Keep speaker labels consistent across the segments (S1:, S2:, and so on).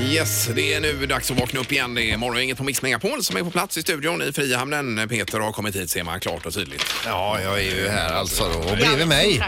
S1: Yes, det är nu dags att vakna upp igen. Det är Morgongänget på Mix Megapol som är på plats i studion i Frihamnen. Peter har kommit hit ser man klart och tydligt.
S2: Ja, jag är ju här alltså. då. Och bredvid mig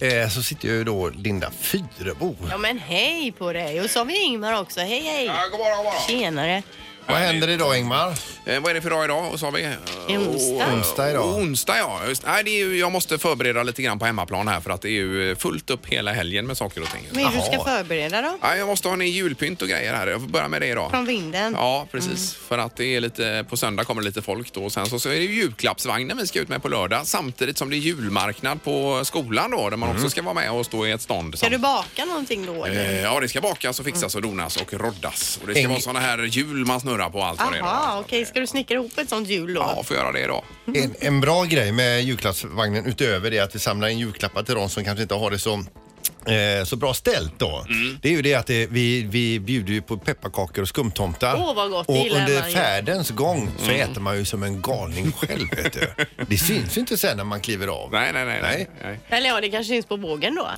S2: eh, så sitter ju då Linda Fyrebo.
S3: Mm. Ja men hej på dig! Och så har vi Ingmar också. Hej hej!
S1: Ja, god morgon, god morgon.
S3: Tjenare!
S2: Vad händer idag Ingmar?
S1: Eh, vad är det för dag idag? Och så har vi... eh,
S3: Det är onsdag.
S2: Onsdag idag.
S1: Onsdag ja. Just, nej, det är ju, jag måste förbereda lite grann på hemmaplan här för att det är ju fullt upp hela helgen med saker och ting.
S3: Vad är det du
S2: Jaha.
S3: ska förbereda då?
S1: Nej, jag måste ha ner julpynt och grejer här. Jag får börja med det idag.
S3: Från Mm. vinden?
S1: Ja, precis. För att det är lite, på söndag kommer lite folk då. Och sen så, så är det ju julklappsvagnen vi ska ut med på lördag samtidigt som det är julmarknad på skolan då där
S2: Mm.
S1: man också ska vara med och stå i ett stånd.
S3: Ska du baka någonting då eller?
S1: Eh, Ja, det ska bakas och fixas
S3: Mm.
S1: och donas och roddas. Och det ska
S2: Eng-
S1: vara såna här hjul man snurrar på allt vad det är.
S3: Aha, okej. Ska du snickra ihop ett sånt hjul då?
S1: Ja, får göra det idag.
S2: En, en bra grej med julklappsvagnen utöver det att vi samlar in julklappar till de som kanske inte har det så, eh, så bra ställt då.
S3: Mm.
S2: Det är ju det att det, vi, vi bjuder ju på pepparkakor och skumtomtar.
S3: Åh, vad gott. Det
S2: Och
S3: gillar
S2: under
S3: man ju. Mm.
S2: färdens gång så äter man ju som en galning själv vet du. Det syns ju inte sen när man kliver av.
S1: Nej, nej, nej. nej.
S2: Nej.
S1: nej.
S3: Eller ja, det kanske syns på bågen då.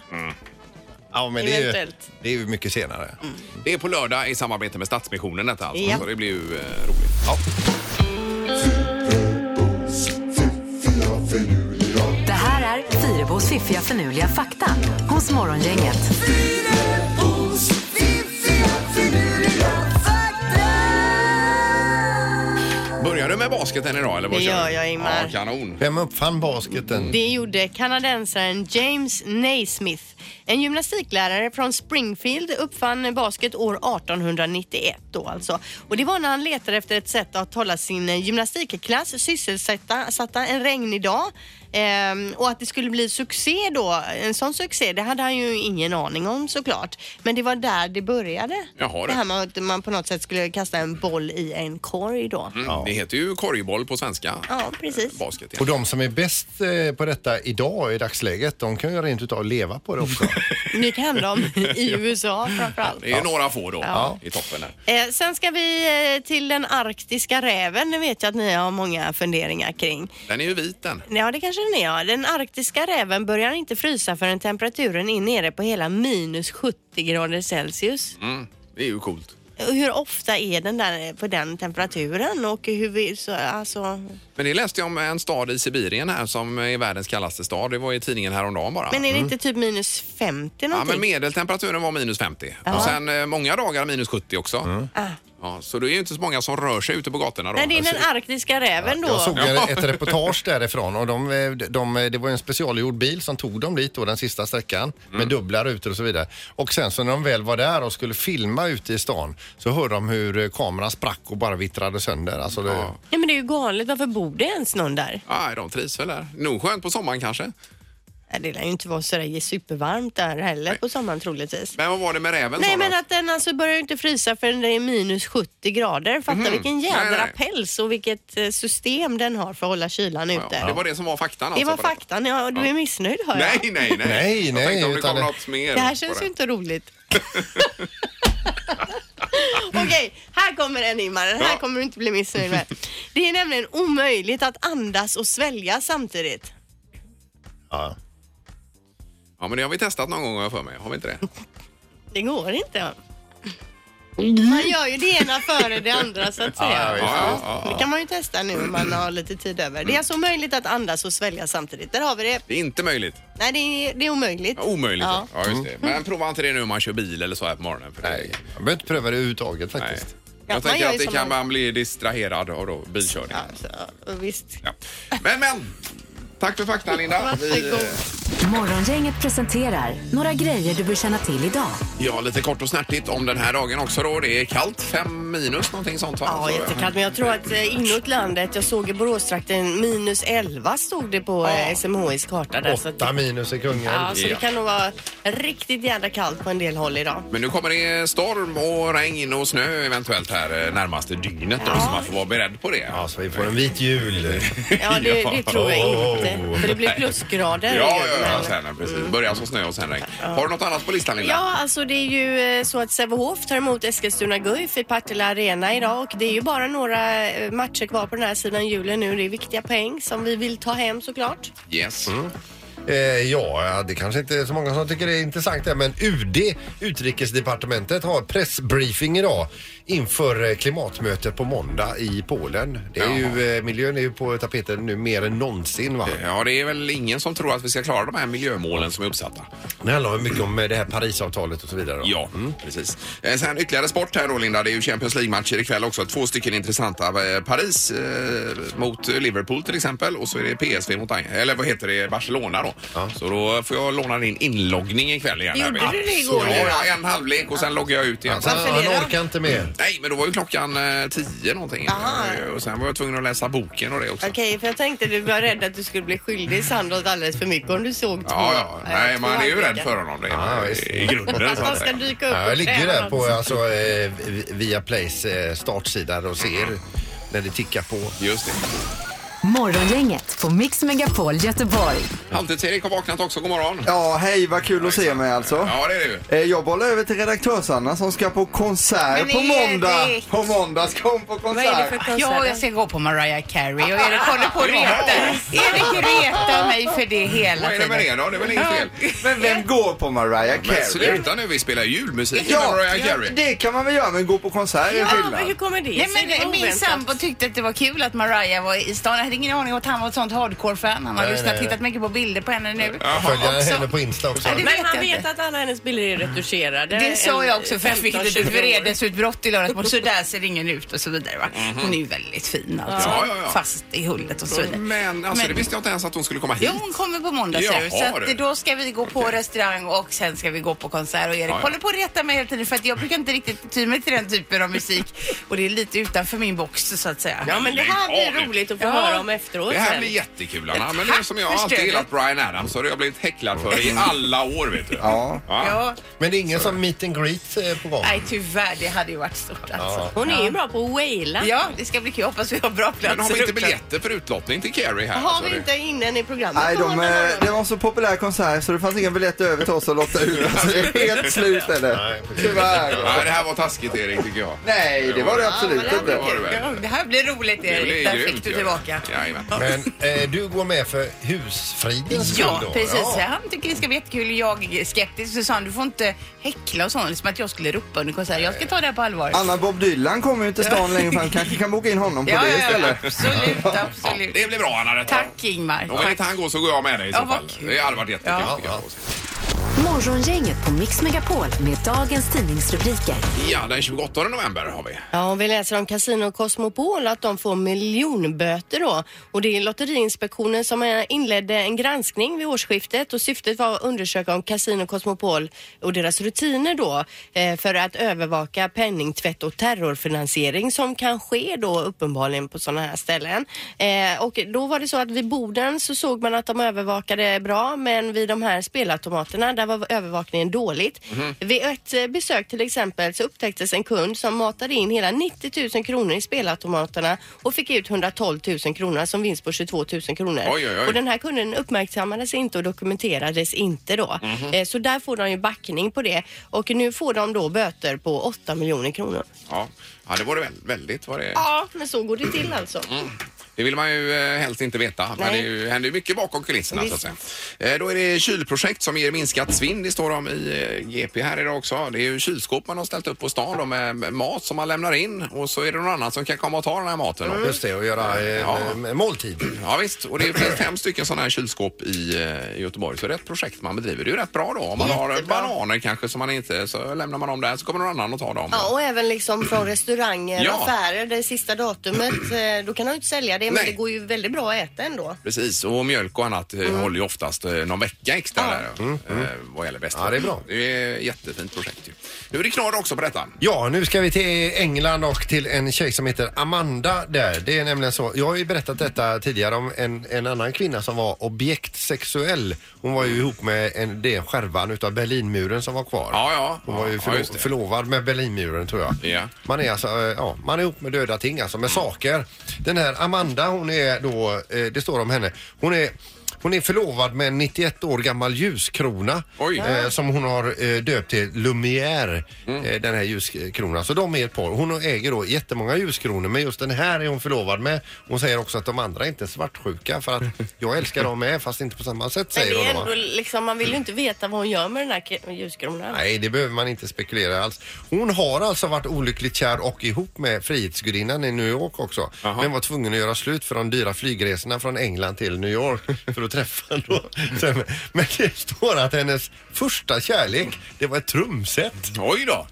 S2: Ja, men det är, ju,
S3: Eventuellt. Mm.
S2: det är ju mycket senare.
S1: Det är på lördag i samarbete med Stadsmissionen detta alltså.
S3: Ja.
S1: Så det blir ju eh, roligt.
S2: Ja.
S4: Det här är Fyrabos fiffiga förnuliga fakta hos Morgongänget.
S1: Börjar du med basketen idag eller vad
S3: Det
S1: kör
S3: gör
S1: du?
S3: jag, Ingmar.
S1: Ja, kanon. Mm,
S2: Vem uppfann basketen?
S3: Det gjorde kanadensaren James Naismith. En gymnastiklärare från Springfield uppfann basket år 1891 då alltså. Och det var när han letade efter ett sätt att hålla sin eh, gymnastikklass sysselsatta satta en regnig dag. Ehm, och att det skulle bli succé då, en sån succé, det hade han ju ingen aning om såklart. Men det var där det började.
S1: Jaha,
S3: det
S1: det.
S3: här med att man på något sätt skulle kasta en boll i en korg då.
S1: Mm, Det heter ju korgboll på svenska. Eh,
S3: Ja, precis.
S1: Basket, ja.
S2: Och de som är bäst eh, på detta idag i dagsläget, de kan ju rent utav leva på det också.
S3: Det kan hända om i USA framförallt.
S1: Det är ju några få då
S3: Ja.
S1: i toppen. Där.
S3: Eh, sen ska vi eh, till den arktiska räven. Det vet jag att ni har många funderingar kring.
S1: Den är ju vit den.
S3: Ja, det kanske den är. Ja. Den arktiska räven börjar inte frysa förrän temperaturen är nere på hela minus 70 grader Celsius.
S1: Mm. Det är ju coolt.
S3: Och Hur ofta är den där eh, på den temperaturen och hur vi, så, alltså...
S1: Men det läste jag om en stad i Sibirien här som är världens kallaste stad. Det var i tidningen häromdagen bara.
S3: Men är det inte typ minus 50
S1: Mm. Ja, men
S3: någonting?
S1: medeltemperaturen var minus 50 och sen eh, många dagar minus 70 också. Ja, så det är ju inte så många som rör sig ute på gatorna då.
S3: Nej, det är den arktiska räven då.
S2: Jag såg ett reportage därifrån och de, eh, de, eh, det var ju en specialgjord bil som tog dem dit då den sista sträckan
S3: Mm.
S2: med dubbla rutor och så vidare. Och sen så när de väl var där och skulle filma ute i stan så hörde de hur eh, kameran sprack och bara vittrade sönder. Alltså det,
S1: Ja.
S3: Nej, men det är ju galet. Varför bor det ens någon där?
S1: Nej, de trivs väl där. Nog skönt på sommaren kanske.
S3: Nej, Det lär ju inte vara sådär supervarmt där heller på sommaren troligtvis.
S1: Men vad var det med räven sa
S3: Nej
S1: du?
S3: men att den alltså börjar ju inte frysa förrän det är minus 70 grader. Fatta vilken jädra
S1: Mhm. Nej, nej.
S3: päls och vilket eh, system den har för att hålla kylan
S1: ja,
S3: ute.
S1: Det var det som var faktan alltså?
S3: Det var
S1: på detta.
S3: faktan, ja, och du är missnöjd hör jag.
S1: Nej, nej, nej.
S2: Nej,
S1: jag
S2: nej,
S1: tänkte om det
S2: utan
S1: kom
S2: det-
S1: något mer.
S3: Det här
S1: på
S3: känns ju inte roligt. Okej, här kommer en Ingmar. Den här
S1: Ja.
S3: kommer du inte bli missnöjd med. Det är nämligen omöjligt att andas och svälja samtidigt.
S2: ja.
S1: Ja, men det har vi testat någon gång har jag för mig. Har vi inte det?
S3: Det går inte. Man gör ju det ena före det andra så att säga.
S2: Ja,
S1: Mm. Ja, ja, ja,
S3: Det
S1: ja.
S3: kan man ju testa nu om man har lite tid över. Det är alltså möjligt att andas och svälja samtidigt. Där har vi det.
S1: Det är inte möjligt.
S3: Nej, det är, det är omöjligt.
S1: Ja, Omöjligt. Ja.
S3: Ja. Mm.
S1: just det. Men prova inte det nu om man kör bil eller så här på morgonen. För det-
S2: Nej, jag behöver inte pröva det överhuvudtaget faktiskt.
S3: Ja,
S1: Jag
S3: man
S1: tänker
S3: gör
S1: att
S3: ju
S1: det
S3: som
S1: kan
S3: man-
S1: man bli distraherad av då, bilkörningen.
S3: Alltså, och visst.
S1: Ja. Men, men. Tack för faktan, Linda. Vi, eh,
S3: Varsågod.
S4: Morgongänget presenterar några grejer du bör känna till idag.
S1: ja, lite kort och snärtigt om den här dagen också då. Det är kallt, fem minus någonting sånt. va?
S3: Ja,
S1: Så-
S3: jättekallt. Men jag tror att eh, inåt landet, jag såg i Boråstrakten, minus 11 stod det på eh, ja. SMHIs karta där. Så, att,
S2: Åtta minus i Kungälv.
S3: ja, så
S1: Ja.
S3: det kan nog vara riktigt jädra kallt på en del håll idag.
S1: Men nu kommer det storm och regn och snö eventuellt här eh, närmaste dygnet då, så man får vara beredd på det.
S2: Ja, så Alltså, vi får en vit jul.
S3: Ja, det, det tror jag
S2: Oh.
S3: inte. För det blir plusgrader.
S1: Ja,
S3: och-
S1: ja, ja,
S3: men-
S1: sen, precis. Börjar som snö och sen regn. Har du något annat på listan, Linda?
S3: Ja, alltså det är ju eh, så att Sävehof tar emot Eskilstuna Guif i Partille Arena idag och det är ju bara några eh, matcher kvar på den här sidan julen nu. Det är viktiga poäng som vi vill ta hem såklart.
S1: Yes.
S2: Eh, ja, det kanske inte är så många som tycker det är intressant där, men UD, Utrikesdepartementet, har pressbriefing idag inför eh, klimatmötet på måndag i Polen. Det är
S1: Jaha.
S2: ju, eh, miljön är ju på tapeten nu mer än någonsin. Va?
S1: Ja, det är väl ingen som tror att vi ska klara de här miljömålen som är uppsatta.
S2: Det handlar ju mycket om eh, det här Parisavtalet och så vidare. då.
S1: Ja, precis. Eh, Sen ytterligare sport här då Linda. Det är ju Champions League-matcher ikväll också. Två stycken intressanta. Eh, Paris eh, mot Liverpool till exempel och så är det PSV mot, Ang- eller vad heter det, Barcelona då. Så då får jag låna din inloggning ikväll igen. här,
S3: Gjorde
S1: Peter.
S3: du det igår,
S1: Ja,
S3: Linda?
S1: ja, en halvlek och sen loggar jag ut igen.
S2: Alltså,
S3: Varför
S2: han
S3: det då?
S2: orkar inte mer.
S1: Nej, men då var ju klockan eh, tio någonting. Eh, Och sen var jag tvungen att läsa boken och det också.
S3: Okej, för jag tänkte du var rädd att du skulle bli skyldig Sandholt alldeles för mycket om du såg två.
S1: Ja, ja.
S3: eh,
S1: Nej,
S3: två
S1: man är ju
S3: halvlekar.
S1: rädd för honom det,
S2: Ja,
S1: i-
S2: visst.
S1: i grunden. Så
S3: Att han
S1: att
S3: ska
S1: säga.
S3: dyka upp
S2: Ja, jag
S3: och
S2: ligger
S3: kräva
S2: där
S3: något.
S2: på alltså, eh, vi- via Plays eh, startsida och ser när det tickar på.
S1: Just det.
S4: Morgongänget på Mix Megapol Göteborg.
S1: Halvtids-Erik har vaknat också. God morgon.
S5: Ja, hej vad kul att se mig alltså.
S1: Ja, det är du.
S5: Eh, Jag bollar över till redaktörs-Anna som ska på
S6: Men
S5: konsert på
S6: är
S5: måndag.
S6: det-
S5: På måndag ska hon på
S3: Vad är det
S5: konsert.
S3: för konsert?
S6: Ja, jag ska gå på Mariah Carey och Erik håller på och retar. Erik retar mig för det hela
S1: Vad är det med
S6: tiden.
S1: det då? Det är väl inget fel?
S5: Men vem går på Mariah
S1: Men
S5: Carey?
S1: sluta nu, vi spelar julmusik
S5: Ja,
S1: med Mariah Carey.
S5: det kan man väl göra, men gå på konsert är en
S3: Ja, men hur
S5: skillnad.
S3: kommer det
S6: Nej,
S3: sig? Det var
S6: men min
S3: oväntat.
S6: sambo tyckte att det var kul att Mariah var i stan. Jag hade ingen aning om att han var ett sånt hardcore-fan. Han har
S2: Nej,
S6: lyssnat,
S2: nej, nej.
S6: tittat mycket på bilder på henne nu.
S2: Följer
S6: Också-
S2: henne på Insta också.
S6: Ja, det
S3: Men han
S6: jag
S3: vet
S6: inte.
S3: att alla hennes bilder är retuscherade.
S6: Det sa
S3: En-
S6: jag också för jag fick
S3: 15-20
S6: ett litet
S3: år.
S6: vredesutbrott i lördags morgon. Så där ser ingen ut och så vidare. Va? Hon är ju väldigt fin alltså.
S1: Mhm. Ja, ja, ja.
S6: Fast i hullet och så vidare.
S1: Men alltså,
S6: Men-
S1: det visste jag inte ens att hon skulle komma hit.
S6: Jo, hon kommer på måndag ser du. Så
S1: Jaha, du.
S6: att, då ska vi gå på restaurang och sen ska vi gå på konsert. Och Erik
S1: Ja, ja.
S6: håller på att reta mig hela tiden för att jag brukar inte riktigt ty mig till den typen av musik. Och det är lite utanför min box så att säga.
S3: Ja, men det här blir roligt att få
S6: Ja.
S3: höra om efteråt
S1: Det här
S3: sen.
S1: blir jättekul Anna, men det är som jag har
S6: Tack för
S1: alltid gillat
S6: stödet.
S1: Brian Adams och det har jag blivit häcklad för i alla år vet du.
S5: Ja.
S6: Ja.
S2: Men det är ingen som meet and greet eh, på gång?
S6: Nej, tyvärr. Det hade ju varit stort alltså.
S3: Hon är ju bra på att waila.
S6: Ja, det ska bli kul. Jag hoppas vi har bra platser.
S1: Men har vi inte
S6: uppklart.
S1: biljetter för utlottning till Carrie här?
S3: Har
S1: Alltså,
S3: vi
S1: det-
S3: inte innan i programmet?
S5: Nej,
S3: på
S5: de,
S3: måndag
S5: eh,
S3: morgon?
S5: det var en så populär konsert så det fanns ingen biljett över till oss att lotta ut. Alltså, det är helt slut eller?
S2: Nej.
S5: Tyvärr.
S1: Nej, det här var taskigt Erik tycker jag.
S5: Nej, det var det
S6: Ja,
S5: absolut
S6: men det,
S5: inte.
S1: var det väl.
S6: Ja, det här blir roligt
S1: Det blir
S6: Erik. Där
S1: grymt,
S6: fick du
S1: ju.
S6: tillbaka.
S1: Jajamän.
S2: Men eh, du går med för husfridens skull
S6: Ja,
S2: då?
S6: precis.
S2: Ja.
S6: Han tycker det ska bli jättekul. Jag är skeptisk. Så sa han, du får inte häckla och sånt. Som att jag skulle ropa under konserten. Jag ska ta det här på allvar.
S5: Anna Bob Dylan kommer ju till stan längre fram. Kanske kan boka in honom på
S6: ja,
S5: det
S6: ja, ja,
S5: istället.
S6: absolut,
S1: Ja,
S6: absolut.
S1: det blir bra Anna detta.
S6: Tack Ingmar.
S1: Om inte han går så går jag med dig i så
S6: Ja, vad
S1: fall.
S6: kul.
S1: Det hade varit jättekul.
S6: Ja.
S1: tycker jag.
S4: Morgongänget på Mix Megapol med dagens tidningsrubriker.
S1: Ja, den 28 november har vi.
S3: Ja, och vi läser om Casino Cosmopol att de får miljonböter då. Och det är Lotteriinspektionen som eh, inledde en granskning vid årsskiftet och syftet var att undersöka om Casino Cosmopol och deras rutiner då eh, för att övervaka penningtvätt och terrorfinansiering som kan ske då uppenbarligen på sådana här ställen. Eh, och då var det så att vid Boden så såg man att de övervakade bra men vid de här spelautomaterna där var övervakningen dåligt.
S1: Mhm.
S3: Vid ett eh, besök till exempel så upptäcktes en kund som matade in hela 90 000 kronor i spelautomaterna och fick ut 112 000 kronor som vinst på 22 000 kronor.
S1: Oj, oj, oj.
S3: Och den här kunden uppmärksammades inte och dokumenterades inte då.
S1: Mhm.
S3: Eh, Så där får de ju backning på det och nu får de då böter på 8 miljoner kronor.
S1: Ja, ja det var det väl, väldigt vad det
S3: Ja, men så går det till alltså.
S1: Det vill man ju eh, helst inte veta. Men
S3: Nej.
S1: det är ju, händer ju mycket bakom kulisserna så att säga. Eh, Då är det kylprojekt som ger minskat svinn. Det står om i eh, GP här idag också. Det är ju kylskåp man har ställt upp på stan då, med med mat som man lämnar in och så är det någon annan som kan komma och ta den här maten. då.
S3: Mm.
S2: Just det, och göra eh,
S1: Ja.
S2: eh, måltid.
S1: Ja, visst, och det finns fem stycken sådana här kylskåp i eh, Göteborg. Så det är ett projekt man bedriver. Det är ju rätt bra då. Om man har bananer kanske som man inte, så lämnar man dem där så kommer någon annan och tar dem.
S3: Ja, och även liksom från restauranger
S1: Ja.
S3: och affärer, det sista datumet, eh, då kan de ju inte sälja det men
S1: Nej.
S3: det går ju väldigt bra att äta ändå.
S1: Precis, och mjölk och annat eh,
S2: Mm.
S1: håller ju oftast eh, någon vecka extra där. eh, Vad gäller bäst.
S2: Ja, det är bra.
S1: Det är ett jättefint projekt ju. Nu är det knorr också på detta.
S2: Ja, nu ska vi till England och till en tjej som heter Amanda där. Det är nämligen så, jag har ju berättat detta tidigare om en, en annan kvinna som var objektsexuell. Hon var ju ihop med en, det skärvan utav Berlinmuren som var kvar.
S1: Ja, ja.
S2: Hon var ju
S1: Ja,
S2: förlo-
S1: just det.
S2: förlovad med Berlinmuren tror jag.
S1: Ja.
S2: Man är alltså, eh, ja, man är ihop med döda ting alltså, med saker. Den här Amanda, hon är då, eh, det står om henne, hon är Hon är förlovad med en 91 år gammal ljuskrona
S1: Oj.
S2: eh, som hon har eh, döpt till Lumière,
S3: Mm.
S2: eh, den här ljuskronan. Så de är ett par. Hon äger då jättemånga ljuskronor men just den här är hon förlovad med. Hon säger också att de andra inte är svartsjuka för att jag älskar dem med fast inte på samma sätt
S3: Men
S2: säger
S3: det
S2: hon.
S3: är
S2: då, va?
S3: ändå liksom, man vill ju inte veta vad hon gör med den här ke- ljuskronan.
S2: Nej, det behöver man inte spekulera alls. Hon har alltså varit olyckligt kär och ihop med Frihetsgudinnan i New York också.
S1: Jaha.
S2: Men var tvungen att göra slut för de dyra flygresorna från England till New York för att träffa henne. då. Sen- Men det står att hennes första kärlek, det var ett trumset.
S1: Oj då!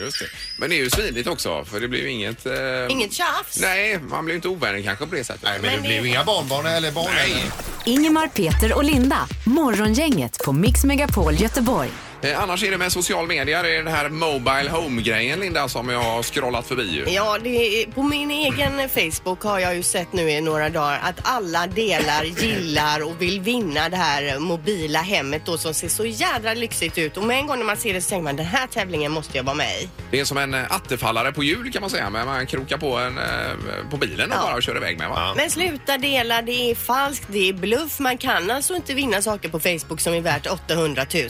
S1: Just det. Men det är ju svinigt också för det blir ju inget... Eh...
S3: Inget tjafs.
S1: Nej, man blir ju inte ovänlig kanske på det sättet. Nej,
S2: Men det blev inga barnbarn eller barn.
S1: Nej.
S4: Ingemar, Peter och Linda. Morgongänget på Mix Megapol Göteborg.
S1: Eh, annars är det med social media, det är den här Mobile Home-grejen Linda som jag har scrollat förbi ju.
S3: Ja, det är, på min egen Facebook har jag ju sett nu i några dagar att alla delar, gillar och vill vinna det här mobila hemmet då som ser så jädra lyxigt ut. Och med en gång när man ser det så tänker man den här tävlingen måste jag vara med i.
S1: Det är som en eh, attefallare på hjul kan man säga, men man krokar på, en, eh, på bilen och
S3: Ja.
S1: bara kör iväg med va?
S3: Men sluta dela, det är falskt, det är bluff. Man kan alltså inte vinna saker på Facebook som är värt 800 000.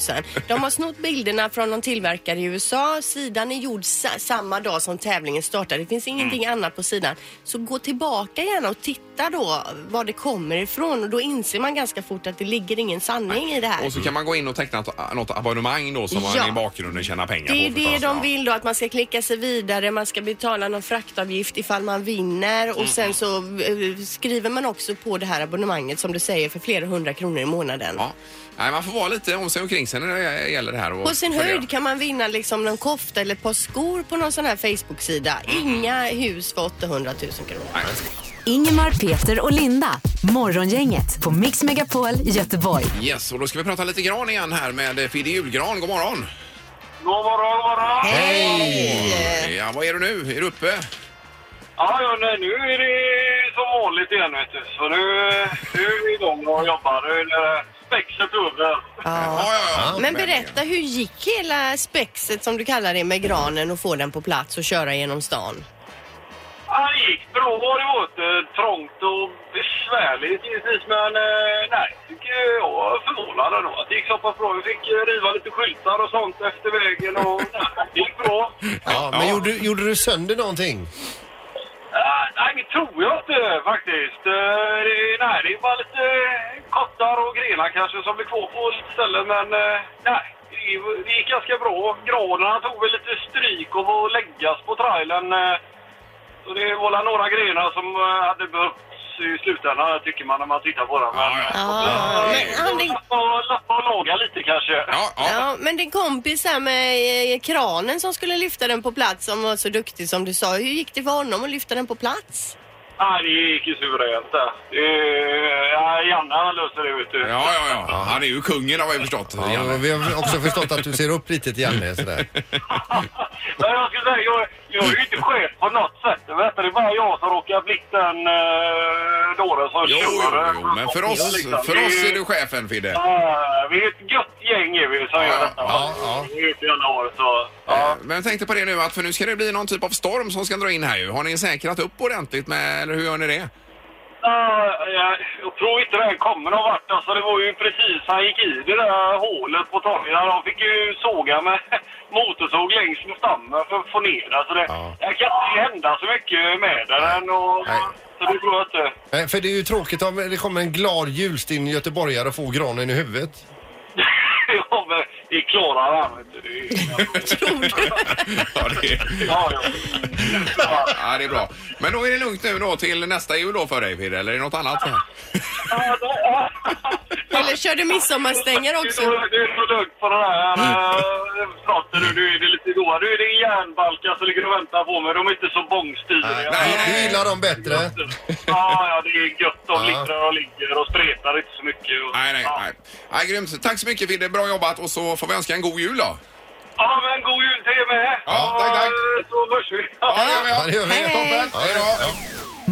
S3: De har snott bilderna från någon tillverkare i USA. Sidan är gjord sa- samma dag som tävlingen startar. Det finns ingenting annat på sidan. Så gå tillbaka gärna och titta då var det kommer ifrån och då inser man ganska fort att det ligger ingen sanning i det här.
S1: Och så kan man gå in och teckna ett- något abonnemang då som
S3: Ja.
S1: man i bakgrunden tjänar pengar
S3: Det är
S1: på.
S3: det
S1: förstås.
S3: de
S1: Ja.
S3: vill då, att man ska klicka sig vidare, man ska betala någon fraktavgift ifall man vinner och sen så eh, skriver man också på det här abonnemanget som du säger för flera hundra kronor i månaden.
S1: Ja. Nej, man får vara lite om sig och kring sig när det gäller det här. Och
S3: På sin
S1: fundera.
S3: höjd kan man vinna liksom någon kofta eller ett par skor på någon sån här Facebook-sida. Inga hus för 800 000 kronor.
S1: Nej.
S4: Ingemar, Peter och Linda. Morgongänget på Mix Megapol Göteborg.
S1: Yes, och då ska vi prata lite gran igen här med Fidde Julgran. God morgon!
S7: God morgon, god morgon!
S3: Hej!
S1: Ja, vad är du nu? Är du uppe?
S7: Ja, ja, nej, nu är det som vanligt igen, vet du. Så nu, nu är vi igång och jobbar. Nu är det spexet över.
S3: Ja.
S1: ja, ja.
S3: Men berätta, hur gick hela spexet som du kallar det med granen och få den på plats och köra genom stan?
S7: Ja, det gick bra, det var inte trångt och besvärligt givetvis, men eh, nej, tycker jag var förvånad ändå att det gick så pass bra. Vi fick eh, riva lite skyltar och sånt efter vägen och nej, det gick bra.
S2: Ja, men Gjorde, gjorde du sönder någonting?
S7: Ah, Nej, det tror jag inte faktiskt. Eh, Det, är- nej, det är bara lite eh, kottar och grenar kanske som blir kvar på lite ställen, men eh, nej. det- Det gick ganska bra. Granerna tog väl lite stryk och var läggas på trailern. eh, Så det var väl några grenar som eh, hade behövts i slutändan, tycker man när man tittar på dem. Men,
S1: Ja,
S3: Ja, men Andy,
S7: Lappa, lappa och laga lite kanske.
S1: Ja, ja.
S3: Ja, men din kompis här med eh, kranen som skulle lyfta den på plats som var så duktig som du sa. Hur gick det för honom att lyfta den på plats?
S7: Nej, det gick ju suveränt det. Eh, ja, Janne han löser det, vet du.
S1: Ja, ja, ja. Han är ju kungen har jag förstått.
S2: Ja,
S1: Janne.
S2: vi har också förstått att du ser upp lite till Janne sådär.
S7: Men jag skulle säga, jag, jag är ju inte chef på något sätt. Vet du? Det är bara jag som råkar bli den eh, dåren som
S1: Jo, jo,
S7: tjorar.
S1: jo, men för oss,
S7: Liksom,
S1: för
S7: vi-
S1: oss är du chefen Fidde.
S7: Ja, vi är ett gött gäng är vi som gör
S1: Ja,
S7: detta.
S2: ja, ja.
S7: Vi är ute i alla år så...
S1: Eh, Men jag tänkte på det nu att för nu ska det bli någon typ av storm som ska dra in här ju. Har ni säkrat upp ordentligt med, eller hur gör ni det?
S7: Ja, jag- jag tror inte det här kommer någon vart. Alltså, det var ju precis han gick i det där hålet på torgen. De fick ju såga med motorsåg längs med stammen för att få ner det. Så det,
S2: Ja.
S7: det kan inte hända så mycket med den. Och,
S2: Nej.
S7: så det tror jag inte.
S2: Eh, För det är ju tråkigt om det kommer en glad julstinn göteborgare och får granen i huvudet.
S7: ja, men det klarar han, vet du. Det är-
S1: Ja, det är,
S7: Ja, ja. Ja.
S1: ja, det är bra. Men då är det lugnt nu då till nästa jul då för dig Fidde, eller är det något annat?
S7: Ja, det- ja.
S3: Eller körde midsommarstänger också?
S7: Det är nog- Det är nog lugnt på den här
S1: Mm.
S7: eh, praten nu. Nu är det lite goa. Nu är det järnbalkar som ligger och väntar på mig. De är inte så bångstyriga.
S1: Nej,
S2: Du
S1: nej.
S2: gillar dem bättre.
S7: Ja, ja, det är gött. De
S2: Ja.
S7: ligger och ligger och spretar inte så mycket. Och,
S1: Nej, nej,
S7: ja.
S1: nej. nej grymt. Tack så mycket Fidde, bra jobbat och så får vi önska en god jul då.
S7: Ja, men god jul till er med.
S1: Ja, tack, tack.
S7: Och, Så hörs vi.
S1: Ja, det gör vi,
S2: Ja, det
S1: ja.
S2: gör vi. Toppen.
S1: Hej då.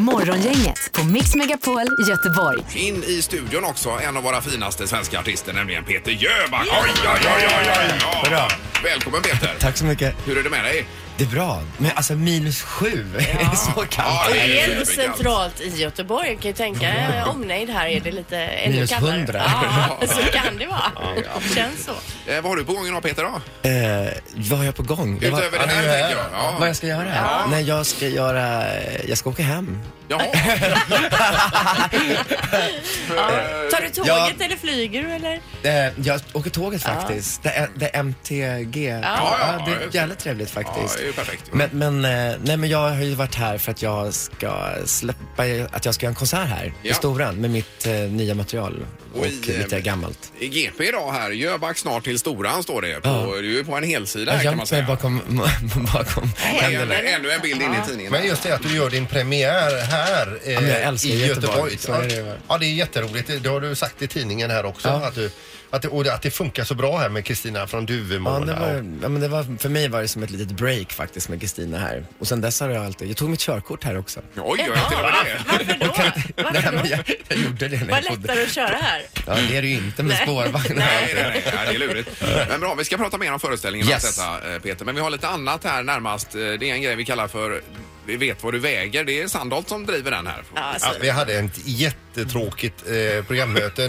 S4: Morgongänget på Mix Megapol Göteborg.
S1: In i studion också en av våra finaste svenska artister, nämligen Peter Jöback. Oj, oj, oj, oj, oj. Ja.
S8: Bra.
S1: Välkommen Peter.
S8: Tack så mycket.
S1: Hur är det med dig?
S8: jättebra. Men alltså minus sju, så
S1: Ja,
S8: kallt.
S1: det
S3: Det är ändå
S1: överkallt.
S3: centralt i Göteborg. Jag kan ju tänka eh, omnejd här är det lite ännu
S8: Minus
S3: kallare.
S8: 100.
S3: Ja, så kan det vara. Känns så.
S1: Eh, vad har du på gång idag Peter då?
S8: Eh, vad har jag på gång? Jag
S1: Utöver
S8: var,
S1: det här
S2: är ju
S1: tänker jag.
S2: här.
S1: Ja.
S8: vad jag ska göra? Nej, jag ska göra... eh, Jag ska åka hem.
S1: Jaha.
S3: Tar du tåget
S8: Ja.
S3: eller flyger du eller?
S8: Eh, jag åker tåget faktiskt. Det, är, det är MTG. Ja,
S1: ja,
S8: det är
S1: just det.
S8: jävligt trevligt
S1: Ja,
S8: faktiskt.
S1: det är ju perfekt.
S8: Men, men, eh, nej, men jag har ju varit här för att jag ska släppa, att jag ska göra en konsert här
S1: Ja.
S8: i Storan med mitt eh, nya material och
S1: Oj,
S8: lite
S1: eh,
S8: gammalt.
S1: I GP idag här, Jöback snart till Storan står det. På,
S8: Ja.
S1: Du är ju på en helsida
S8: Jag har
S1: här kan man
S8: gömt mig
S1: säga.
S8: bakom, bakom
S1: Ännu,
S8: händerna.
S1: ännu en bild inne i tidningen.
S2: Men just det att du gör din premiär här eh,
S8: men jag älskar
S2: i
S8: Göteborg.
S2: Göteborg.
S8: Så är det ju.
S2: Ja, det är jätteroligt. Det- Det har du sagt i tidningen här också.
S8: Ja.
S2: Att du, att det, och det- att det funkar så bra här med Kristina från
S8: Ja,
S2: Duvemåla.
S8: det
S2: och-
S8: var, ja, men det var, för mig var det som ett litet break faktiskt med Kristina här. Och sen dess har jag alltid, jag tog mitt körkort här också.
S1: Oj, jag vet inte vad det är.
S3: Varför då? Varför
S8: men
S3: då?
S8: jag, jag gjorde det när
S3: Vad
S8: jag bodde.
S3: lättare att köra här?
S8: Ja, det är det ju inte med
S3: Nej.
S8: spårvagn.
S1: Nej, nej, nej, nej, det är lurigt. Men bra, vi ska prata mer om föreställningen
S8: Yes.
S1: yes. detta, eh, Peter. Men vi har lite annat här närmast. Eh, Det är en grej vi kallar för Vi vet vad du väger. Det är Sandholt som driver den här.
S3: Ja,
S2: Ja,
S3: alltså,
S2: vi hade ett jättetråkigt eh, programmöte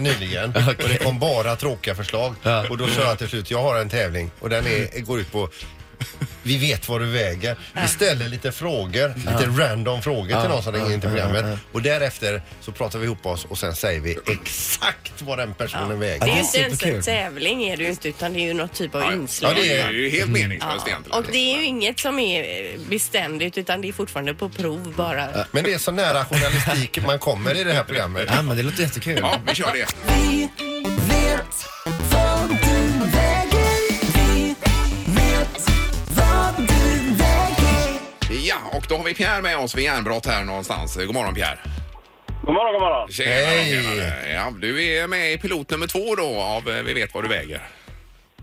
S2: nyligen och det kom bara tråkiga förslag.
S8: Ja. Mm.
S2: Och då sa jag till slut, jag har en tävling och den är, går ut på vi vet vad du väger. Vi ställer lite frågor, lite random frågor till någon som ringer in till programmet. Och därefter så pratar vi ihop oss och sen säger vi exakt vad den personen väger.
S3: det är
S8: det
S3: ju
S8: är
S3: inte ens en
S8: superkul.
S3: tävling är det ju inte utan det är ju något typ av
S1: Ja,
S3: inslag.
S1: det är ju helt meningslöst
S3: Mm. Ja,
S1: egentligen.
S3: Och det är ju inget som är eh, beständigt utan det är fortfarande på prov bara.
S2: Men det är så nära journalistik man kommer i det här programmet.
S8: Ja, men det låter jättekul.
S1: Ja, vi kör det. Ja, och då har vi Pierre med oss vid järnbrott här någonstans. Eh, God morgon Pierre.
S7: God morgon, god morgon.
S1: Tjena,
S2: Hej.
S1: tjenare. Ja, du är med i pilot nummer två då av eh, Vi vet vad du väger.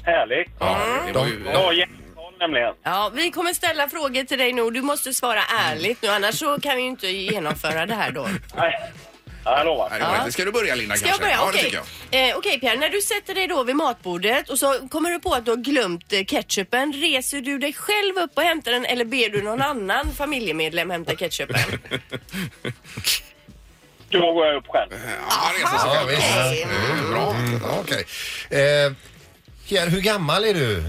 S7: Härligt.
S1: Ja, det var ju...
S7: Ja, jättebra nämligen.
S3: Ja, vi kommer ställa frågor till dig nu och du måste svara ärligt nu annars så kan vi ju inte genomföra det här då.
S7: Nej, Ja, jag lovar.
S1: Nej, det var inte. Ska du börja Linda
S3: Ska jag
S1: kanske?
S3: börja?
S1: Ja, det
S3: Okej.
S1: tycker jag.
S3: Eh, okej, Pierre, när du sätter dig då vid matbordet och så kommer du på att du har glömt eh, ketchupen. Reser du dig själv upp och hämtar den eller ber du någon annan familjemedlem hämta ketchupen?
S7: Då går jag upp själv.
S1: Ja, han reser sig
S2: Ja,
S1: själv.
S2: visst. Mm,
S1: Eh, Bra.
S2: Ja, Okej. Eh, Pierre, hur gammal är du?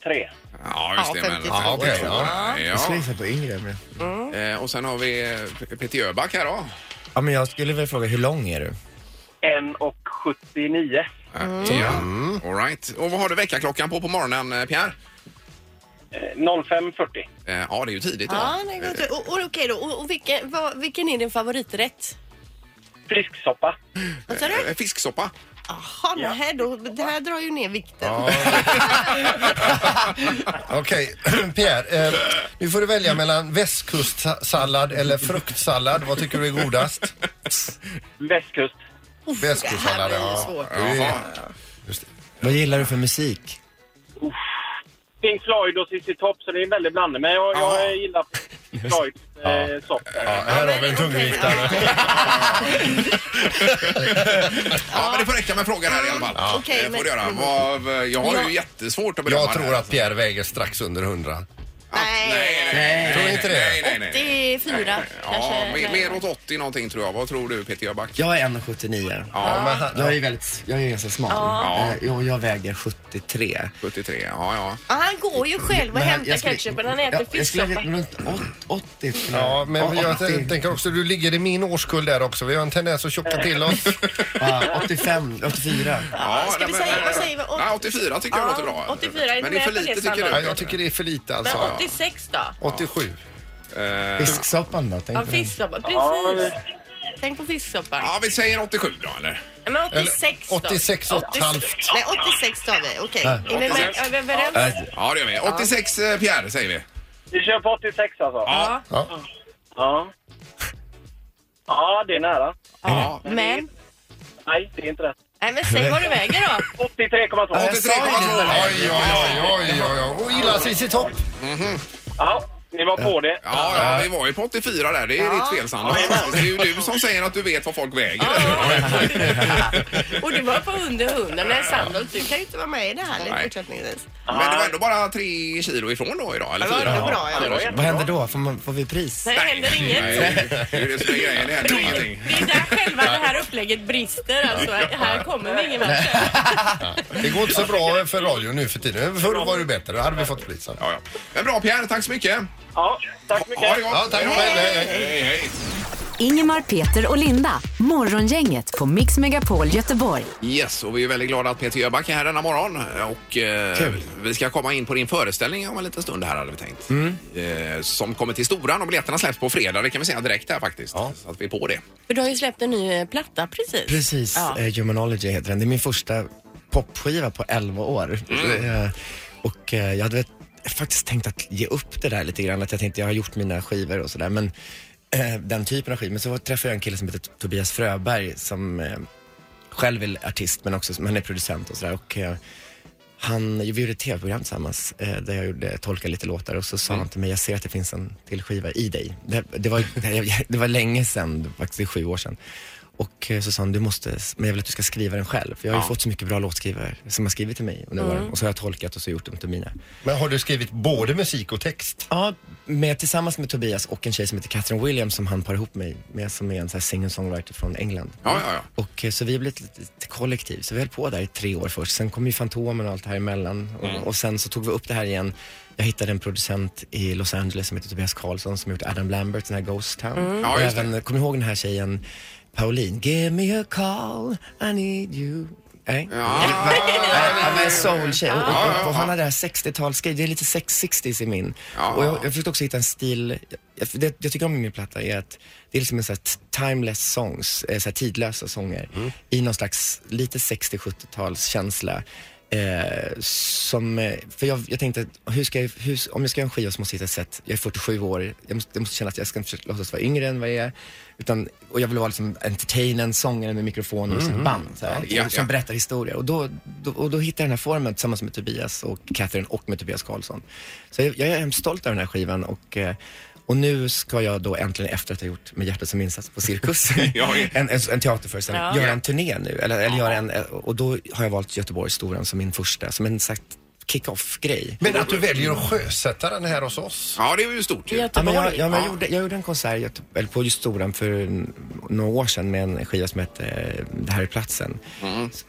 S7: 52,3.
S1: Ja, just det.
S3: Ja,
S1: men-
S3: 52
S1: Ja, okej.
S2: år.
S1: Ja.
S8: Jag skulle gissa på yngre. Men...
S1: Eh, Och sen har vi eh, Peter Jöback här då.
S8: Ja, men jag skulle väl fråga, hur lång är du?
S7: 1,79.
S1: Ja. Eh, All right. Och vad har du väckarklockan på på morgonen, eh, Pierre?
S7: Eh, 05.40.
S1: Eh, Ja, det är ju tidigt. Eh, då.
S3: ja, det är gott. Och, och, okej då. Och, och vilken, vad, vilken är din favoriträtt?
S7: Frisksoppa.
S3: Vad sa du?
S1: Eh, Fisksoppa.
S3: Jaha,
S7: Ja.
S3: nähä, då, det här drar ju ner vikten.
S2: Okej, Pierre. Eh, nu får du välja mellan västkustsallad eller fruktsallad. Vad tycker du är godast?
S7: Västkust.
S2: Västkustsallad,
S3: det här blir
S2: ja.
S3: svårt.
S1: Jaha.
S8: Vad gillar du för musik?
S7: Pink Floyd och Cissi Topp, så det är en väldig blandning. Men jag, jag gillar Pink Floyd eh, sopp.
S2: Här har vi en tungviktare.
S1: Ja, men det får räcka med frågan här i alla fall. Ja.
S3: Okej,
S1: får
S3: men-
S1: du göra. Vad, eh, jag har ju jättesvårt att bedöma
S2: Jag tror
S1: det.
S2: att Pierre väger strax under 100.
S1: Nej, nej, nej.
S2: Tror inte det?
S1: Nej, nej, nej.
S3: Det är fyra
S1: Ja,
S3: kanske.
S1: mer, mer åt 80 någonting tror jag. Vad tror du Peter Jöback?
S8: Jag är 1,79.
S1: Ja, men han-
S8: Jag är väldigt, jag är ganska smal.
S1: Ja.
S8: Eh, och jag väger 73.
S1: 73, ja, ja.
S3: Ja, han går ju själv och
S8: Men här-
S3: hämtar
S8: jag skulle-
S3: ketchupen. Han
S8: ja,
S3: äter
S8: Jag skulle
S3: fisksoppa.
S8: ha runt åt- 80. tror jag.
S2: Ja, men
S8: Ja,
S2: jag
S8: 80.
S2: t- tänker också, du ligger i min årskull där också. Vi har en tendens att tjocka till oss.
S8: Ja, 85, 84.
S1: ja
S3: ska vi
S1: nej,
S3: säga-
S1: men-
S3: vad säger vi? Åt-
S1: Ja, 84 tycker jag
S3: Ja,
S1: låter bra.
S3: 84 är
S1: men det är för
S3: med på
S1: lite
S3: det
S1: tycker
S2: Ja,
S1: du?
S3: standarden.
S2: jag tycker det är för lite
S3: Men
S2: alltså.
S3: 86 då?
S2: 87.
S8: Fisksoppan då?
S3: Ja,
S8: Tänk på den.
S3: fisksoppa.
S7: Ja,
S3: Precis. Tänk på fisksoppan.
S1: Ja, vi säger 87 då eller?
S3: Men
S2: Eller
S3: 86 då?
S2: 86 och ett
S3: 80
S2: halvt.
S3: Nej, 86 tar vi. Okej. Är vi med- är vi överens?
S8: Äh,
S1: Ja, det gör vi. 86 eh, Pierre säger vi.
S7: Vi kör på 86 alltså.
S1: Ja.
S2: Ja.
S7: Ja. Ja, det är nära.
S1: ja.
S3: Men?
S7: Nej, det är inte rätt.
S3: Nej, men säg vad du väger då.
S7: 83,2.
S1: 83,2.
S2: Oj, oj, oj, oj, oj, oj. Och gillar Cissi Topp.
S7: Ja, Ni var på det.
S1: Ja, ja, vi var ju på 84 där. Det är ditt fel, Sandra. det är ju du som säger att du vet vad folk väger.
S3: Och du var på under 100. Men Sandholt, du kan ju inte vara med i det här lite fortsättningsvis.
S1: Men det var ändå bara tre kilo ifrån då idag, eller
S3: Det var
S1: fyra?
S3: ändå bra, ja.
S1: det var så.
S2: Vad händer då? Får, man, får vi pris?
S3: Nej, det händer
S1: Nej,
S3: inget.
S1: det är ju det som är grejen. Det händer ingenting.
S3: Det är där själva det här upplägget brister. Alltså, här kommer vi ingen match.
S9: Det går inte så bra för radion nu för tiden. Förr var det bättre. Då hade vi fått polisen.
S1: Ja, ja. Men bra, Pierre. Tack så mycket.
S7: Ja, tack så mycket.
S1: Ha det gott.
S9: Ja, tack. Hej, hej,
S1: hej, hej.
S4: Ingemar, Peter och Linda. Morgongänget på Mix Megapol Göteborg.
S1: Yes, och vi är väldigt glada att Peter Jöback är här denna morgon. Och, eh, Vi ska komma in på din föreställning om en liten stund här hade vi tänkt. Eh, som kommer till Storan och biljetterna släpps på fredag. Det kan vi säga direkt här faktiskt. Så att vi är på det.
S3: För du har ju släppt en ny eh, platta precis.
S2: Precis,
S3: Ja.
S2: eh, Humanology heter den. Det är min första popskiva på 11 år. Eh, och eh, jag hade väl faktiskt tänkt att ge upp det där lite grann. Att jag tänkte jag har gjort mina skivor och sådär. Men eh, den typen av skivor. Men så var- träffade jag en kille som heter Tobias Fröberg som eh, själv är artist men också som, han är producent och sådär. Och, eh, han, vi gjorde ett tv-program tillsammans eh, där jag gjorde, tolkade lite låtar och så sa han till mig, jag ser att det finns en till skiva i dig. Det, det, var, det, var länge sedan, det var faktiskt det är sju år sedan. Och eh, så sa han, du måste, men jag vill att du ska skriva den själv. För jag har ju fått så mycket bra låtskrivare som har skrivit till mig under åren. Och så har jag tolkat och så gjort dem till mina.
S9: Men har du skrivit både musik och text?
S2: Ja, med, tillsammans med Tobias och en tjej som heter Catherine Williams som han par ihop mig med som är en sån här singer-songwriter från England.
S1: Ja, ja, ja.
S2: Och eh, så vi har blivit ett litet kollektiv, så vi höll på där i tre år först. Sen kom ju Fantomen och allt det här emellan och,
S1: Mm.
S2: och sen så tog vi upp det här igen. Jag hittade en producent i Los Angeles som heter Tobias Karlsson som gjort Adam Lambert, den här Ghost Town.
S1: Mm. Ja,
S2: och
S1: just det.
S2: även, eh, kom ihåg den här tjejen Pauline? Give me a call, I need you. Nej?
S1: Ja.
S2: Han är en soul-tjej och, och, och han har det här 60-talsgrejen, det är lite 60s i min.
S1: Ja.
S2: Och jag, jag försökte också hitta en stil, jag, det jag tycker om i min platta är att det är liksom en sån här t- timeless songs, eh, så här tidlösa sånger
S1: Mm.
S2: i någon slags lite 60-70-talskänsla. Eh, som, eh, för jag, jag tänkte, att hur ska jag, hur, om jag ska göra en skiva så måste jag hitta ett sätt, jag är 47 år, jag måste, jag måste känna att jag ska inte försöka låtsas vara yngre än vad jag är. Utan, och jag vill vara liksom entertainern, sångaren med mikrofon och mm. band. Så här,
S1: Mhm. Ja,
S2: som
S1: ja.
S2: berättar historier. Och då, då, och då hittade jag den här formen tillsammans med Tobias och Catherine och med Tobias Karlsson. Så jag, jag är hemskt stolt över den här skivan och, eh, och nu ska jag då äntligen efter att ha gjort Med hjärtat som insats på Cirkus,
S1: Ja, ja.
S2: en, en, en teaterföreställning,
S3: Ja.
S2: göra en turné nu. Eller, eller göra en, eh, och då har jag valt Göteborg Storan som min första, som en sagt kick-off-grej.
S9: Men att du väljer att sjösätta den här hos oss?
S1: ja, det är ju stort. ju.
S2: Ja, men
S3: Göteborg.
S2: jag, ja, men
S1: Ja.
S2: jag, gjorde, jag gjorde en konsert i Göte- eller på just Storan för n- några år sedan med en skiva som hette eh, Det här är platsen.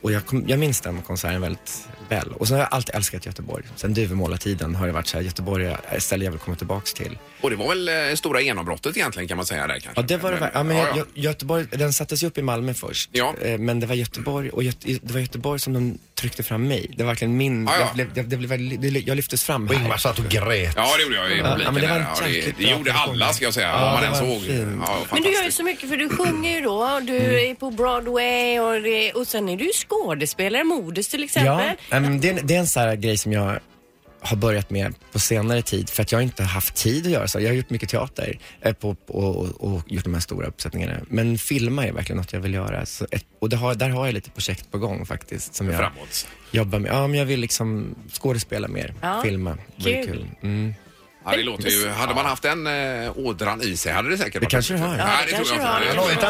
S2: Och jag, kom, jag minns den konserten väldigt väl. Och så har jag alltid älskat Göteborg. Sen Duvemåla-tiden har det varit så här, Göteborg är ett ställe jag vill komma tillbaks till.
S1: Och det var väl eh, stora genombrottet egentligen kan man säga där kanske.
S2: Ja, det var det. ver- Ja, men Gö- Göteborg, den sattes ju upp i Malmö först.
S1: Ja.
S2: Eh, Men det var Göteborg och Göte, det var Göteborg som de tryckte fram mig. Det var verkligen min...
S1: Ja, ja.
S2: Jag, blev, jag, det blev, väldigt- det- jag lyftes fram
S9: Och
S2: här.
S9: Ingmar satt och grät.
S1: Ja, det gjorde jag i
S2: Ja,
S1: publiken.
S2: men det var
S1: där.
S2: en
S1: Ja, det, det,
S2: jäkligt bra
S1: gjorde alla ska jag säga,
S2: Ja,
S1: vad man
S2: det
S1: än
S2: var
S1: såg.
S2: fint.
S1: Ja,
S3: Men du gör ju
S1: fantastiskt.
S3: så mycket för du sjunger ju då, du
S2: Mm.
S3: är på Broadway och, det, och sen är du ju skådespelare, modus till exempel.
S2: Ja, men Ehm, det, är en- det är en sån här grej som jag har börjat med på senare tid för att jag inte har haft tid att göra så. Jag har gjort mycket teater eh, på, och, och, och gjort de här stora uppsättningarna. Men filma är verkligen något jag vill göra. Så ett, och det har, där har jag lite projekt på gång faktiskt. Som jag
S1: Framåt.
S2: jobbar med. Ja, men jag vill liksom skådespela mer,
S3: Ja,
S2: filma. Det vore
S3: kul.
S2: kul. Mm.
S1: Ja, det låter ju, hade man haft den äh, ådran i sig hade det säkert varit
S2: kanske det har.
S1: Nej,
S3: Ja,
S1: det
S3: det
S1: tror jag
S3: kanske
S1: inte.
S3: det har.
S1: Nej,
S9: Han har
S1: det tror
S9: ju
S1: jag
S9: ett
S1: inte.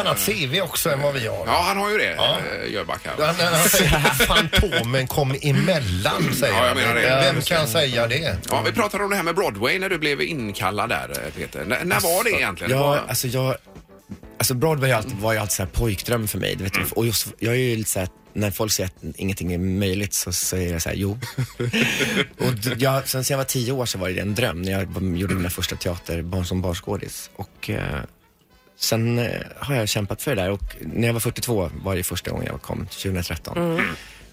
S9: annat CV också än vad vi har.
S1: Ja, han har ju det, eh, Jöback. här.
S9: Han, han säger Fantomen kom emellan, säger
S1: Ja, jag
S9: han.
S1: menar det.
S9: Vem kan säga det?
S1: Ja, vi pratade om det här med Broadway när du blev inkallad där, eh, Peter. N- när var det egentligen? Det
S2: Ja,
S1: var-
S2: alltså jag... Alltså Broadway har alltid, var ju alltid så här pojkdröm för mig. Du vet, och just, jag är ju lite så här, när folk säger att ingenting är möjligt så säger jag så här, jo. och d- jag, sen, sen jag var tio år så var det en dröm när jag var- gjorde mina första teater, barn som barskådis. Och eh, sen eh, har jag kämpat för det där och när jag var 42 var det första gången jag kom, 2013.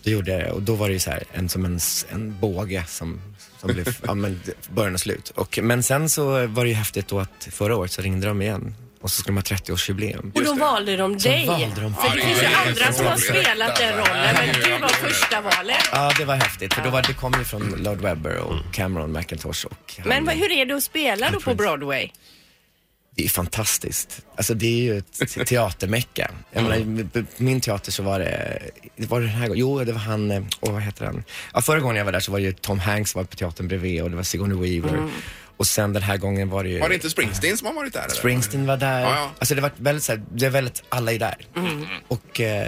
S2: Då gjorde jag det och då var det ju så här, en, som en, s- en båge som, som blev ja, men, d- början och slut. Och, men sen så var det ju häftigt då att förra året så ringde de igen och så skulle de ha 30-årsjubileum.
S3: Och då
S1: det.
S3: valde de
S2: Så
S3: dig.
S2: valde de
S3: för det
S1: dig.
S3: finns
S1: Ja,
S3: ju
S1: det
S2: Mm.
S1: är
S3: andra
S1: så
S3: som har
S1: roligt.
S3: spelat den rollen men du var första valet.
S2: Ja, det var häftigt för då var, det kom ju från Lord Webber och Cameron McIntosh och han-
S3: Men vad- hur är det att spela då på Broadway?
S2: det är fantastiskt. Alltså det är ju ett te- teatermecka. Jag menar,
S1: Mm.
S2: i- b- min teater så var det, det var det den här gången, jo det var han, eh, åh vad heter han? Ja, förra gången jag var där så var det ju Tom Hanks som var på teatern bredvid och det var Sigourney Weaver.
S7: Och sen den här gången var det ju...
S1: Mm. Var det inte Springsteen som har varit där? eller?
S7: Springsteen var där.
S1: Ja, Mm. ja.
S7: Alltså det var väldigt så här, det är väldigt, alla är där. Och, eh,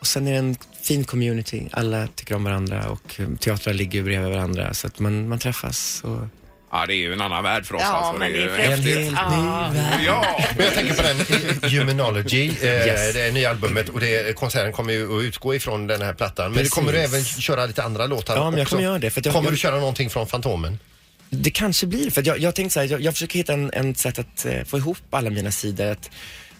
S7: och sen är det en fin community. Alla tycker om varandra och eh, teatrar ligger ju bredvid varandra så att man, man träffas. Och...
S1: Ja, det är ju en annan värld för oss.
S10: Ja,
S1: alltså.
S10: men
S1: ju
S10: det är
S7: En
S1: häftigt.
S7: helt ny värld.
S1: Ja,
S2: Men jag tänker på den eh, Humanology, eh,
S7: Yes.
S2: det är nya albumet och det, konserten kommer ju att utgå ifrån den här plattan. Men
S7: Precis.
S2: kommer du även köra lite andra låtar
S7: Ja, men jag
S2: också?
S7: kommer göra det, för att jag-
S2: kommer
S7: jag-
S2: du köra någonting från Fantomen?
S7: Det kanske blir, för att jag, jag tänkte så här, jag, jag försöker hitta en, en sätt att eh, få ihop alla mina sidor. Att,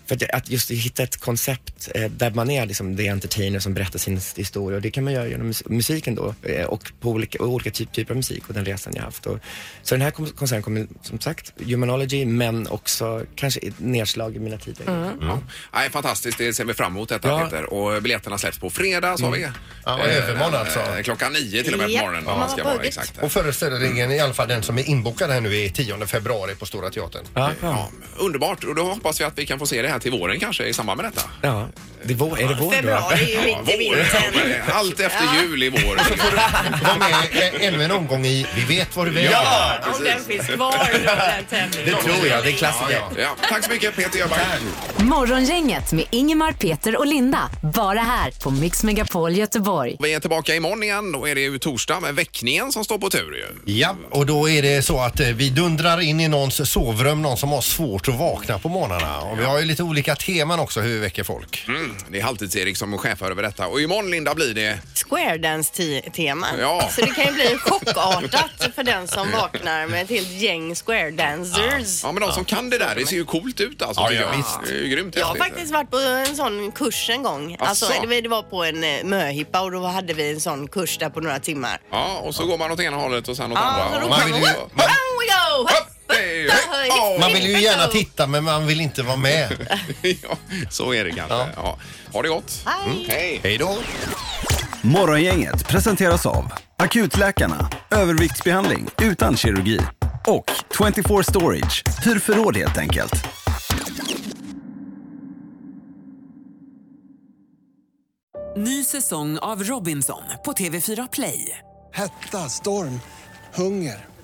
S7: för att, jag- att just hitta ett koncept eh, där man är liksom the entertainer som berättar sin s- historia och det kan man göra genom mus- musiken då eh, och på olika, och olika typ, typer av musik och den resan jag haft. Och, så den här kom- konserten kommer som sagt, Humanology men också kanske ett nedslag i mina tider.
S1: Ja. Nej, fantastiskt, det ser vi fram emot detta
S7: Ja. Mm.
S1: Peter. Och biljetterna släpps på fredag sa vi.
S2: Ja, och övermorgon alltså.
S1: Eh, Klockan nio till och med på
S3: Japp,
S1: morgonen.
S3: om
S1: om man
S3: man
S1: ska
S3: har
S1: vara
S3: bugget.
S1: exakt.
S2: Och föreställningen, i alla fall den som är inbokad här nu, är 10 februari på Stora Teatern.
S7: Ja,
S1: Ja, underbart, och då hoppas vi att vi kan få se det här till våren kanske i samband med detta.
S7: ja. Det är, vår, är det vår då?
S10: Februari är ju
S1: Ja,
S10: inte
S1: vår,
S10: vintern.
S1: ja, men allt efter jul i vår.
S2: Var med eh, ännu en omgång i Vi vet vad du vill.
S1: Ja,
S3: Om den finns kvar, då, den tävlingen.
S7: Det tror jag, det är klassiker.
S1: Ja, tack så mycket Peter Jöback.
S11: Morgongänget med Ingemar, Peter och Linda. Bara här på Mix Megapol Göteborg.
S1: Vi är tillbaka imorgon igen. Då är det ju torsdag med väckningen som står på tur ju.
S2: Ja, och då är det så att eh, vi dundrar in i någons sovrum, någon som har svårt att vakna på morgnarna. Och vi har ju lite olika teman också hur vi väcker folk.
S1: Mm, det är Halvtids-Erik som är chefar över detta. Och imorgon Linda blir det...
S3: Square Dance-tema.
S1: Ja.
S3: Så det kan ju bli chockartat för den som vaknar med ett helt gäng Square Dancers.
S1: Ja men de som kan det där, det ser ju coolt ut alltså.
S2: Ja,
S1: tycker
S2: ja,
S1: jag.
S2: visst.
S1: Det är ju grymt
S3: Jag har
S1: häftigt.
S3: faktiskt varit på en sån kurs en gång. Alltså,
S1: Asså?
S3: det var- det var på en eh, möhippa och då hade vi en sån kurs där på några timmar.
S1: Ja, och så går man åt ena hållet och sen åt
S3: Ja,
S1: andra.
S3: så då
S1: Och
S2: man
S3: kan
S2: vill
S3: man...
S2: ju-
S3: Up,
S2: man-
S3: down we go!
S1: Hopp,
S3: Up,
S1: hej,
S3: down,
S1: hej,
S3: hip,
S1: oh.
S2: Man vill ju gärna
S3: go.
S2: titta men man vill inte vara med.
S1: ja, så är det kanske. Ja.
S2: Ja.
S1: Ha det gott.
S3: Hej.
S1: Hej.
S2: Hej då!
S12: Morgongänget presenteras av Akutläkarna, överviktsbehandling utan kirurgi och 24 Storage, hur förråd helt enkelt.
S4: Ny säsong av Robinson på TV4 Play.
S13: Hetta, storm, hunger.